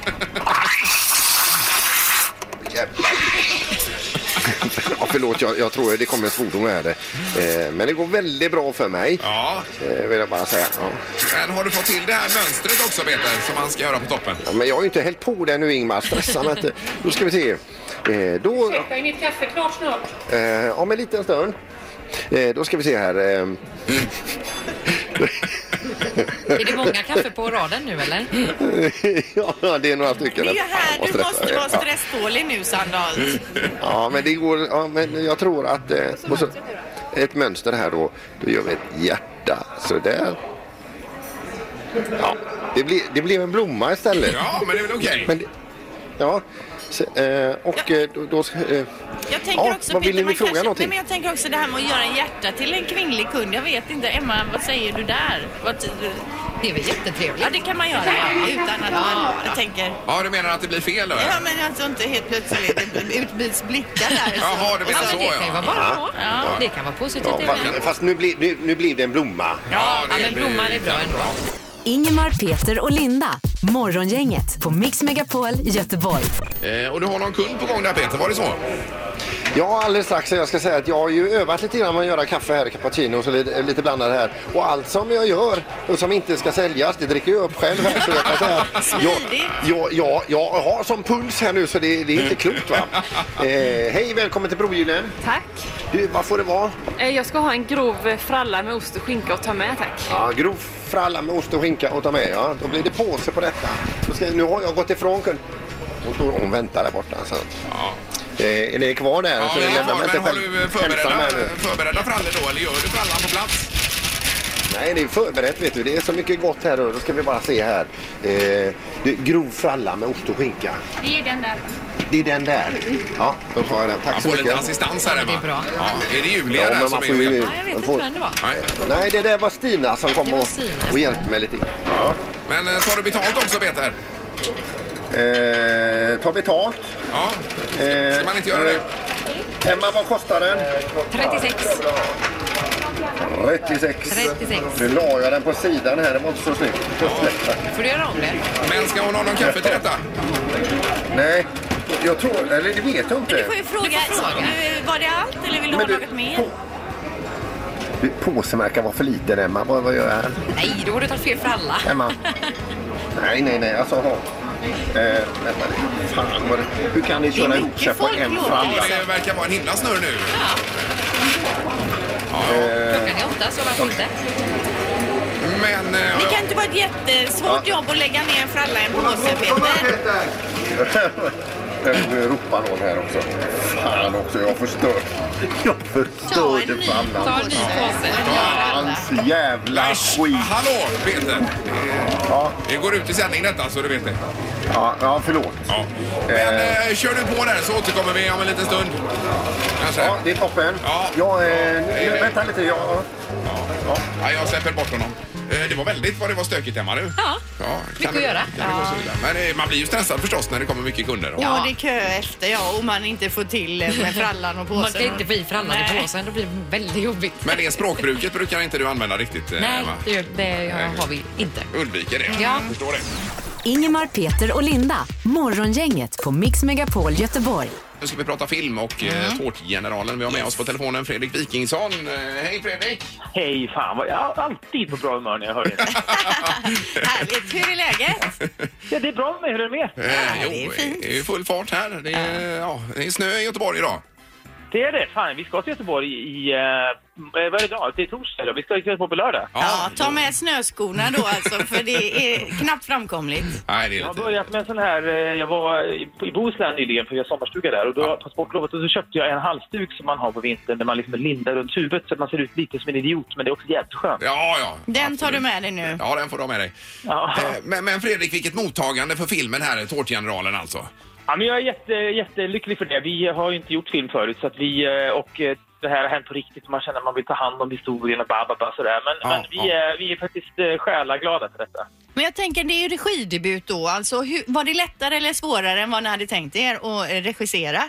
[SPEAKER 7] Jävlar. Ja, förlåt, jag, jag tror det kommer en svordom här. Eh, men det går väldigt bra för mig.
[SPEAKER 2] Ja.
[SPEAKER 7] Eh, vill jag bara säga. Ja.
[SPEAKER 2] Men har du fått till det här mönstret också Peter som man ska göra på toppen?
[SPEAKER 7] Ja, men jag har ju inte hällt på det nu Ingmar. Stressa mig inte. Då ska vi se. Eh, då,
[SPEAKER 13] är mitt kaffe klart snart?
[SPEAKER 7] eh, om en liten stund. Eh, då ska vi se här. Eh.
[SPEAKER 13] Är det många kaffe på raden nu eller?
[SPEAKER 7] ja, det är några stycken.
[SPEAKER 4] Det är ju
[SPEAKER 7] Fan, vad
[SPEAKER 4] här du
[SPEAKER 7] stressad jag
[SPEAKER 4] måste
[SPEAKER 7] är.
[SPEAKER 4] vara stresstålig nu Sandholt.
[SPEAKER 7] Ja, men det går. Ja, men jag tror att... Eh, och så, ett mönster här då. Då gör vi ett hjärta. Sådär. Ja, det, blir, det blev en blomma istället.
[SPEAKER 2] Ja, men det är väl okej.
[SPEAKER 7] Men det- Ja, Se- eh, Och eh, då, då ska- eh,
[SPEAKER 4] Jag tänker
[SPEAKER 7] ja,
[SPEAKER 4] också,
[SPEAKER 7] vad
[SPEAKER 4] Peter,
[SPEAKER 7] ville ni
[SPEAKER 4] man
[SPEAKER 7] fråga
[SPEAKER 4] kanske,
[SPEAKER 7] någonting?
[SPEAKER 4] Nej, men jag tänker också det här med att göra en hjärta till en kvinnlig kund. Jag vet inte, Emma, vad säger du där? Vad ty-
[SPEAKER 13] Det är väl jättetrevligt?
[SPEAKER 4] Ja, det kan man göra ja, utan att man jag tänker.
[SPEAKER 2] Ja, du menar att det blir fel då?
[SPEAKER 4] Ja, men alltså inte helt plötsligt utbyts blickar där. liksom.
[SPEAKER 2] Jaha, du menar
[SPEAKER 4] Och
[SPEAKER 2] så,
[SPEAKER 4] det
[SPEAKER 2] ja.
[SPEAKER 4] kan ju vara bra.
[SPEAKER 7] Ja.
[SPEAKER 4] Ja.
[SPEAKER 13] Det kan vara positivt.
[SPEAKER 7] Ja, fast, fast nu, blir, nu, nu blir det en blomma.
[SPEAKER 13] Ja, men blomman är bra ändå.
[SPEAKER 5] Ingemar, Peter och Linda. Morgongänget på Mix Megapol Göteborg.
[SPEAKER 2] Eh, och du har någon kund på gång där Peter, var det så?
[SPEAKER 7] Ja, alldeles strax. Jag ska säga att jag har ju övat lite grann med att göra kaffe här, cappuccino och lite, lite blandade här. Och allt som jag gör och som inte ska säljas, det dricker jag upp själv här. Så jag kan säga att jag, jag, jag, jag har som puls här nu så det, det är inte klokt va. Eh, hej, välkommen till Brohjulen.
[SPEAKER 14] Tack.
[SPEAKER 7] Du, vad får det vara?
[SPEAKER 14] Eh, Jag ska ha en grov eh, fralla med ost och skinka och ta med, tack.
[SPEAKER 7] Ja, grov fralla med ost och skinka och ta med. Ja. Då blir det påse på detta. Då ska, nu har jag gått ifrån kunden. Hon, står- hon väntar där borta. Så. Eh, är det kvar där?
[SPEAKER 2] Ja,
[SPEAKER 7] så
[SPEAKER 2] det är
[SPEAKER 7] lämnar
[SPEAKER 2] kvar,
[SPEAKER 7] man
[SPEAKER 2] men
[SPEAKER 7] inte
[SPEAKER 2] har
[SPEAKER 7] själv-
[SPEAKER 2] du
[SPEAKER 7] ensam
[SPEAKER 2] förberedda,
[SPEAKER 7] här nu.
[SPEAKER 2] förberedda frallor då eller gör du frallan på plats?
[SPEAKER 7] Nej, det är förberett vet du. Det är så mycket gott här och då ska vi bara se här. Eh, det är grov fralla med ost och skinka.
[SPEAKER 14] Det är den där.
[SPEAKER 7] Det är den där. Ja, då tar jag den. Tack
[SPEAKER 2] Man
[SPEAKER 7] så
[SPEAKER 2] får
[SPEAKER 7] mycket.
[SPEAKER 2] lite assistans här Emma. Det är, bra. Ja, är det Julia
[SPEAKER 7] Ja,
[SPEAKER 2] där
[SPEAKER 7] men
[SPEAKER 2] som
[SPEAKER 7] man
[SPEAKER 2] är
[SPEAKER 7] får ju...
[SPEAKER 2] chef?
[SPEAKER 7] man får-
[SPEAKER 13] var.
[SPEAKER 2] Nej.
[SPEAKER 7] Nej, det där var Stina som kom
[SPEAKER 2] Det var
[SPEAKER 7] och,
[SPEAKER 2] Stina.
[SPEAKER 7] och hjälpte mig lite. Ja.
[SPEAKER 2] Men eh, tar du betalt också Peter?
[SPEAKER 7] Eh, ta betalt.
[SPEAKER 2] Ja,
[SPEAKER 7] eh,
[SPEAKER 2] ska man inte göra det?
[SPEAKER 7] eh, Emma, vad kostar den?
[SPEAKER 13] 36.
[SPEAKER 7] 36.
[SPEAKER 13] 36.
[SPEAKER 7] Nu la jag den på sidan här, det var inte så snyggt.
[SPEAKER 13] Får du göra om det?
[SPEAKER 2] Men ska hon ha någon kaffe till detta?
[SPEAKER 7] Nej, jag tror... Eller det vet jag inte.
[SPEAKER 4] Du får ju fråga, Nu, var det allt eller vill du ha något mer?
[SPEAKER 7] Påsen verkar vara för liten, Emma. Vad, vad gör jag här?
[SPEAKER 13] Nej, då har du tagit fel för alla.
[SPEAKER 7] Emma. Nej, nej, nej. Alltså, ha. Eh, vänta, fan vad det... Hur kan ni köra ihop sig på en fralla?
[SPEAKER 2] Ja, det verkar vara en himla snurr nu.
[SPEAKER 13] Klockan är åtta, så varför inte?
[SPEAKER 2] Men... eh,
[SPEAKER 4] Det kan inte vara ett jättesvårt jobb att lägga ner en fralla i en påse, Peter.
[SPEAKER 7] Nu ropar någon här också. Fan också, jag förstör. Jag förstörde frallan. Hans jävla skit.
[SPEAKER 2] Hallå Peter! Eh, Det går ut i sändning detta så du vet det.
[SPEAKER 7] Ja, ja förlåt.
[SPEAKER 2] Ja. Men eh, kör du på där så återkommer vi om en liten stund. Kanske.
[SPEAKER 7] Ja, det är toppen. Jag, eh,
[SPEAKER 2] hej, hej.
[SPEAKER 7] vänta lite, jag...
[SPEAKER 2] Ja, jag släpper bort honom. Eh, Det var väldigt vad det var stökigt hemma du.
[SPEAKER 13] Ja,
[SPEAKER 2] Ja,
[SPEAKER 13] mycket att göra.
[SPEAKER 2] kan det gå så illa? Men eh, man blir ju stressad förstås när det kommer mycket kunder. Och-
[SPEAKER 4] Ja, det är kö efter ja, och man inte får till eh, med frallan och påsen.
[SPEAKER 13] Man kan inte få i frallan i
[SPEAKER 4] Nej.
[SPEAKER 13] påsen, då blir det väldigt jobbigt.
[SPEAKER 2] Men det språkbruket brukar inte du använda riktigt, eh,
[SPEAKER 13] Nej,
[SPEAKER 2] Emma?
[SPEAKER 13] det, det
[SPEAKER 2] Nej.
[SPEAKER 13] har vi inte.
[SPEAKER 2] Undviker det.
[SPEAKER 13] Ja.
[SPEAKER 2] Jag förstår det.
[SPEAKER 5] Ingemar, Peter och Linda. Morgongänget på Mix Megapol Göteborg.
[SPEAKER 2] Nu ska vi prata film och mm. Tårtgeneralen. Vi har med oss på telefonen Fredrik Wikingsson. Eh, Hej Fredrik!
[SPEAKER 15] Hej, fan vad jag är alltid på bra humör när jag hör er.
[SPEAKER 4] Härligt. Hur är läget?
[SPEAKER 15] Ja, det är bra med, hur är det med?
[SPEAKER 2] Eh, jo, det är full fart här. Det är, ja. det är snö i Göteborg idag.
[SPEAKER 15] Det är det, fan vi ska till Göteborg i, eh, vad är det idag? Det är torsdag idag. vi ska till Göteborg på lördag.
[SPEAKER 4] Ja, ta med snöskorna då alltså, för det är knappt framkomligt.
[SPEAKER 2] Nej, det
[SPEAKER 15] jag har börjat med en sån här, eh, jag var i i Bohuslän nyligen för jag har sommarstuga där och då på sportlovet och så köpte jag en halsduk som man har på vintern där man liksom lindar runt huvudet så att man ser ut lite som en idiot men det är också jävligt skönt.
[SPEAKER 2] Ja, ja.
[SPEAKER 4] Den tar du med dig nu.
[SPEAKER 2] Ja, den får du ha med dig. Eh, Men, men Fredrik, vilket mottagande för filmen här, Tårtgeneralen alltså.
[SPEAKER 15] Ja, men jag är jätte, jättelycklig för det. Vi har ju inte gjort film förut så att vi, eh, och eh, det här har hänt på riktigt. Man känner att man vill ta hand om historien och bababa sådär. Men,
[SPEAKER 2] Ja,
[SPEAKER 15] men vi,
[SPEAKER 2] ja.
[SPEAKER 15] är, vi är faktiskt eh, själaglada för detta.
[SPEAKER 4] Men jag tänker, det är ju regidebut då. Alltså, hur, var det lättare eller svårare än vad ni hade tänkt er att eh, regissera?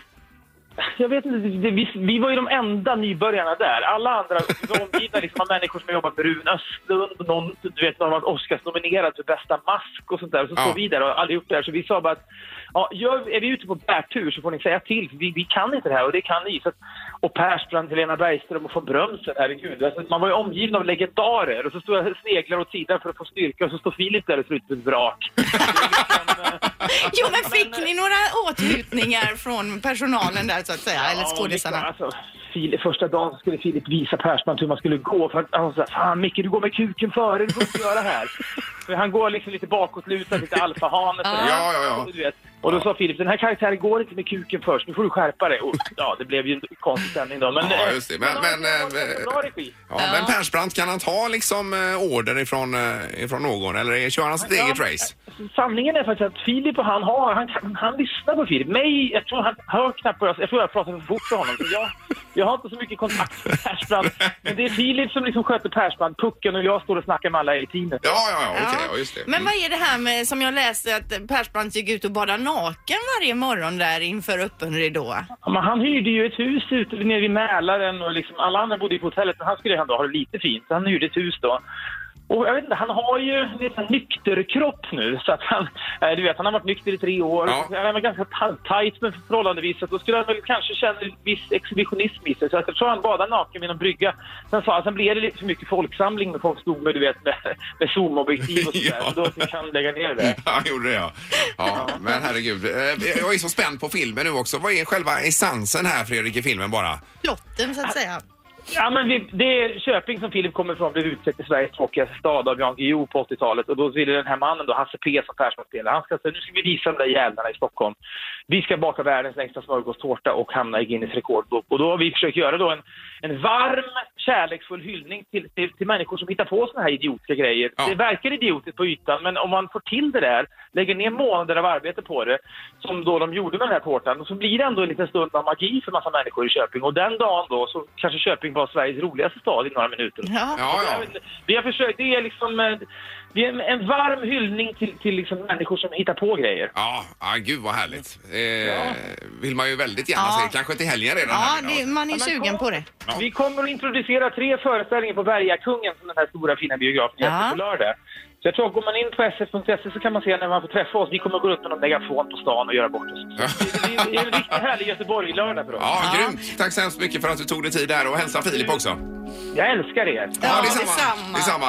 [SPEAKER 15] Jag vet inte, det, vi, vi var ju de enda nybörjarna där. Alla andra de omgivna liksom, av människor som har jobbat med Rune Östlund, någon, du vet, någon har varit Oscars-nominerad för bästa mask och sånt där. Och så står vi där och har aldrig gjort det här. Så vi sa bara att ja, gör, är vi ute på bärtur så får ni säga till. för Vi, vi kan inte det här och det kan ni. Så att, och Persbrandt, Helena Bergström och von Brömsen, herregud. Alltså, man var ju omgiven av legendarer. Och så stod jag och sneglade åt sidan för att få styrka och så står Filip där och ser ut som ett vrak.
[SPEAKER 4] Jo, men fick ni några åtgjutningar från personalen där så att säga? eller skådisarna?
[SPEAKER 15] liksom, alltså, Filip, första dagen så skulle Filip visa Persbrandt hur man skulle gå. För att, han sa fan Micke du går med kuken före, du får inte göra här. För han går liksom lite bakåtlutad, lite alfahane. sådär.
[SPEAKER 2] Ja, ja, ja.
[SPEAKER 15] Och Du vet, Och då sa Filip, den här karaktären går inte med kuken först, nu får du skärpa dig. Och, ja, det blev ju en konstig stämning då. Men,
[SPEAKER 2] ja,
[SPEAKER 15] eh,
[SPEAKER 2] just det. Men, men, eh, ja,
[SPEAKER 15] Ja.
[SPEAKER 2] men Persbrandt, kan han ta liksom eh, order ifrån, eh, ifrån någon eller är- kör han sitt eget race?
[SPEAKER 15] Sanningen är faktiskt att Filip och han har, han, kan- han lyssnar på Filip. Mig, jag tror han hör knappt vad jag Jag tror jag pratar för fort för honom. Så jag, jag har inte så mycket kontakt med Persbrandt. Men det är Filip som liksom sköter Persbrandt-pucken och jag står och snackar med alla i teamet.
[SPEAKER 2] Ja, ja, ja, okej, ja, just det. Mm.
[SPEAKER 4] Men vad är det här med, som jag läste, att Persbrandt gick ut och badade naken varje morgon där inför öppen ridå?
[SPEAKER 15] Ja, men han hyrde ju ett hus ute nere vid Mälaren och liksom alla andra bodde ju på hotellet men han skulle ju ändå ha det lite fint så han hyrde ett hus då. Och jag vet inte, han har ju en liten nykterkropp nu så att han, eh, du vet han har varit nykter i tre år. Han var ganska ta- tajt men förhållandevis så att då skulle han väl kanske känna viss exhibitionism i sig så att jag tror han badade naken vid någon brygga. Sen sa han, sen blev det lite för mycket folksamling när folk stod med du vet med, med zoomobjektiv och sådär. Så då fick han lägga ner det.
[SPEAKER 2] Ja, han gjorde det ja. ja. Men herregud, Eh, jag är så spänd på filmen nu också. Vad är själva essensen här Fredrik i filmen bara?
[SPEAKER 4] Plotten så att säga.
[SPEAKER 15] Ja, men vi, det är Köping som Filip kommer ifrån blev utsedd till Sveriges tråkigaste stad av Jan Guillou på 80-talet. Och då ville den här mannen då, Hasse P som Persson spelade, han ska säga nu ska vi visa de där jävlarna i Stockholm. Vi ska baka världens längsta smörgåstårta och hamna i Guinness rekordbok. Och då har vi försökt göra då en, en varm, kärleksfull hyllning till, till, till människor som hittar på såna här idiotiska grejer. Det verkar idiotiskt på ytan, men om man får till det där, lägger ner månader av arbete på det, som då de gjorde med den här tårtan, så blir det ändå en liten stund av magi för massa människor i Köping. Och den dagen då så kanske Köping var Sveriges roligaste stad i några minuter.
[SPEAKER 4] Ja.
[SPEAKER 2] Ja, ja.
[SPEAKER 15] Vi har försökt, det är liksom eh, det är en, en varm hyllning till, till liksom människor som hittar på grejer.
[SPEAKER 2] Ja, ah, gud vad härligt. Eh, Vill man ju väldigt gärna
[SPEAKER 15] Ja.
[SPEAKER 2] se. Kanske till helgen redan.
[SPEAKER 4] Ja,
[SPEAKER 2] här nu då.
[SPEAKER 4] det, man är sugen på det.
[SPEAKER 15] Vi kommer att introducera tre föreställningar på Bergakungen som den här stora fina biografen heter
[SPEAKER 4] Ja.
[SPEAKER 15] på lördag. Så jag tror att går man in på sf.se E så kan man se när man får träffa oss. Vi kommer att gå runt med någon megafon på stan och göra bort oss. Det är- det är en riktigt härlig Göteborg-lördag för oss.
[SPEAKER 2] Ja, grymt. Tack så hemskt mycket för att du tog dig tid där och hälsa Filip också.
[SPEAKER 15] Jag älskar er.
[SPEAKER 2] Ja, detsamma. Detsamma.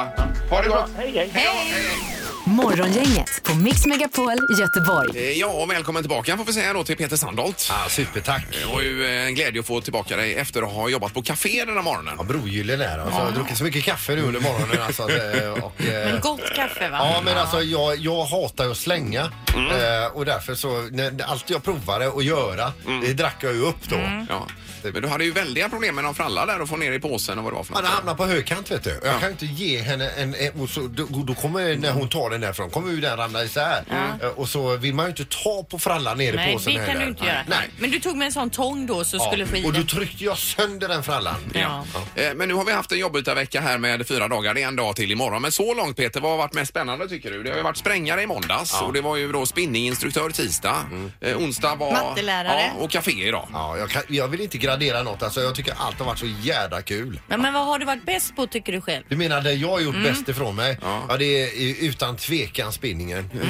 [SPEAKER 2] Ha det gott.
[SPEAKER 15] Hej, hej.
[SPEAKER 5] Morgongänget på Mix Megapol Göteborg.
[SPEAKER 2] Eh, Ja, och välkommen tillbaka får vi säga då till Peter Sandholt. Ah, supertack. Det var ju eh, en glädje att få tillbaka dig efter att ha jobbat på café den här morgonen. Ja,
[SPEAKER 7] Brogyllen är alltså. Jag har druckit så mycket kaffe nu under morgonen alltså. att, eh, Och, eh,
[SPEAKER 4] Men gott kaffe va?
[SPEAKER 7] Ja men alltså jag, jag hatar ju att slänga eh, och därför så, när, allt jag provade att göra det drack jag ju upp då.
[SPEAKER 2] Ja. Men du hade ju väldiga problem med någon fralla där och få ner i påsen och vad det var för
[SPEAKER 7] Han
[SPEAKER 2] något.
[SPEAKER 7] hamnar på högkant vet du. Jag kan ju inte ge henne en... en och så, då, då kommer, när hon tar den därifrån kommer ju den ramla isär. Eh, Och så vill man ju inte ta på frallan nere i
[SPEAKER 4] Nej,
[SPEAKER 7] påsen
[SPEAKER 4] det kan
[SPEAKER 7] heller.
[SPEAKER 4] du inte göra.
[SPEAKER 7] Nej.
[SPEAKER 4] Men du tog med en sån tång då så skulle få i
[SPEAKER 7] Och då
[SPEAKER 4] den.
[SPEAKER 7] tryckte jag sönder den frallan.
[SPEAKER 4] Ja.
[SPEAKER 2] Eh, Men nu har vi haft en jobbytarvecka här med fyra dagar. Det är en dag till imorgon. Men så långt Peter, vad har varit mest spännande tycker du? Det har ju varit sprängare i måndags och det var ju då spinninginstruktör tisdag. Eh, onsdag var...
[SPEAKER 4] Mattelärare.
[SPEAKER 2] Ja, och café idag.
[SPEAKER 7] Mm. Ja, jag, kan, jag vill inte gradera något. Alltså, jag tycker allt har varit så jädra kul.
[SPEAKER 4] Ja, men vad har du varit bäst på tycker du själv?
[SPEAKER 7] Du menar det jag har gjort
[SPEAKER 4] Mm.
[SPEAKER 7] bäst ifrån mig? Ja. det är i- utan tvekan spinningen.
[SPEAKER 5] Mm.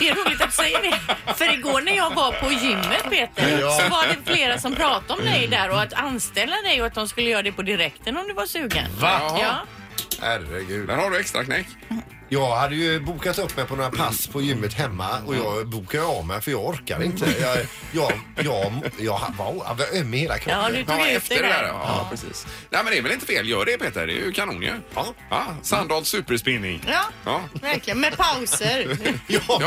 [SPEAKER 4] Det är roligt att du säger det. För igår när jag var på gymmet Peter
[SPEAKER 7] Ja.
[SPEAKER 4] så var det flera som pratade om dig där och att anställa dig och att de skulle göra det på direkten om du var sugen.
[SPEAKER 7] Va?
[SPEAKER 4] Ja.
[SPEAKER 7] Herregud.
[SPEAKER 2] Där har du extra knäck.
[SPEAKER 7] Jag hade ju bokat upp mig på några pass på gymmet hemma och jag bokade av mig för jag orkar inte. Jag, jag, jag, jag, var- jag var öm i hela kroppen.
[SPEAKER 2] ja, efter det där. Ja, precis. Nej, men det är väl inte fel. Gör det Peter, det är ju kanon ju. Ja. Sandholt superspinning.
[SPEAKER 4] Ja,
[SPEAKER 2] Ja.
[SPEAKER 4] verkligen. Med pauser.
[SPEAKER 7] Ja,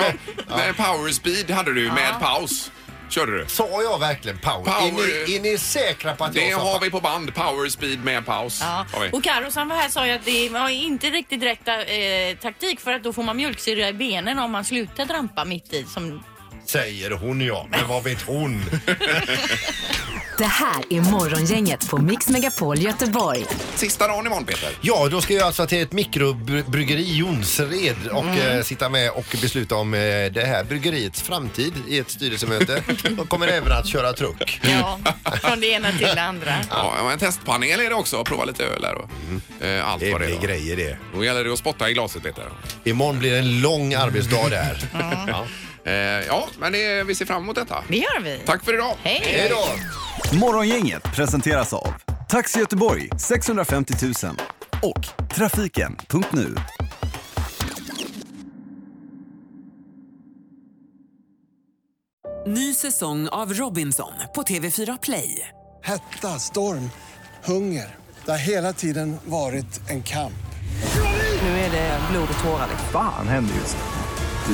[SPEAKER 2] Nej, Power speed hade du med paus. Körde du?
[SPEAKER 7] Sa jag verkligen power? Är ni, är ni säkra på att
[SPEAKER 2] Det
[SPEAKER 7] jag sa
[SPEAKER 2] har vi på band. Power speed med paus.
[SPEAKER 4] Ja.
[SPEAKER 2] Har vi.
[SPEAKER 4] Och Carro som var här sa ju att det var inte riktigt rätt eh, taktik för att då får man mjölksyra i benen om man slutar trampa mitt i. Som...
[SPEAKER 7] Säger hon ja, men vad vet hon?
[SPEAKER 5] Det här är Morgongänget på Mix Megapol Göteborg.
[SPEAKER 2] Sista dagen imorgon Peter.
[SPEAKER 7] Ja, då ska jag alltså till ett mikrobryggeri i Jonsered och
[SPEAKER 2] Mm.
[SPEAKER 7] eh, sitta med och besluta om eh, det här bryggeriets framtid i ett styrelsemöte. och kommer även att köra truck.
[SPEAKER 4] Ja, från det ena till det andra.
[SPEAKER 2] Ja, men en testpanel är det också. Prova lite öl här och eh, allt vad det är. Det
[SPEAKER 7] grejer det.
[SPEAKER 2] Då gäller det att spotta i glaset Peter.
[SPEAKER 7] Imorgon blir det en lång arbetsdag där.
[SPEAKER 2] Ja. Eh, ja, men det, vi ser fram emot detta.
[SPEAKER 4] Det gör vi.
[SPEAKER 2] Tack för idag.
[SPEAKER 4] Hej
[SPEAKER 2] då.
[SPEAKER 16] Morgongänget presenteras av Taxi Göteborg 650 000 och Trafiken.nu.
[SPEAKER 17] Ny säsong av Robinson på TV4 Play.
[SPEAKER 1] Hetta, storm, hunger. Det har hela tiden varit en kamp.
[SPEAKER 17] Nu är det blod och tårar. liksom.
[SPEAKER 6] Fan händer just det.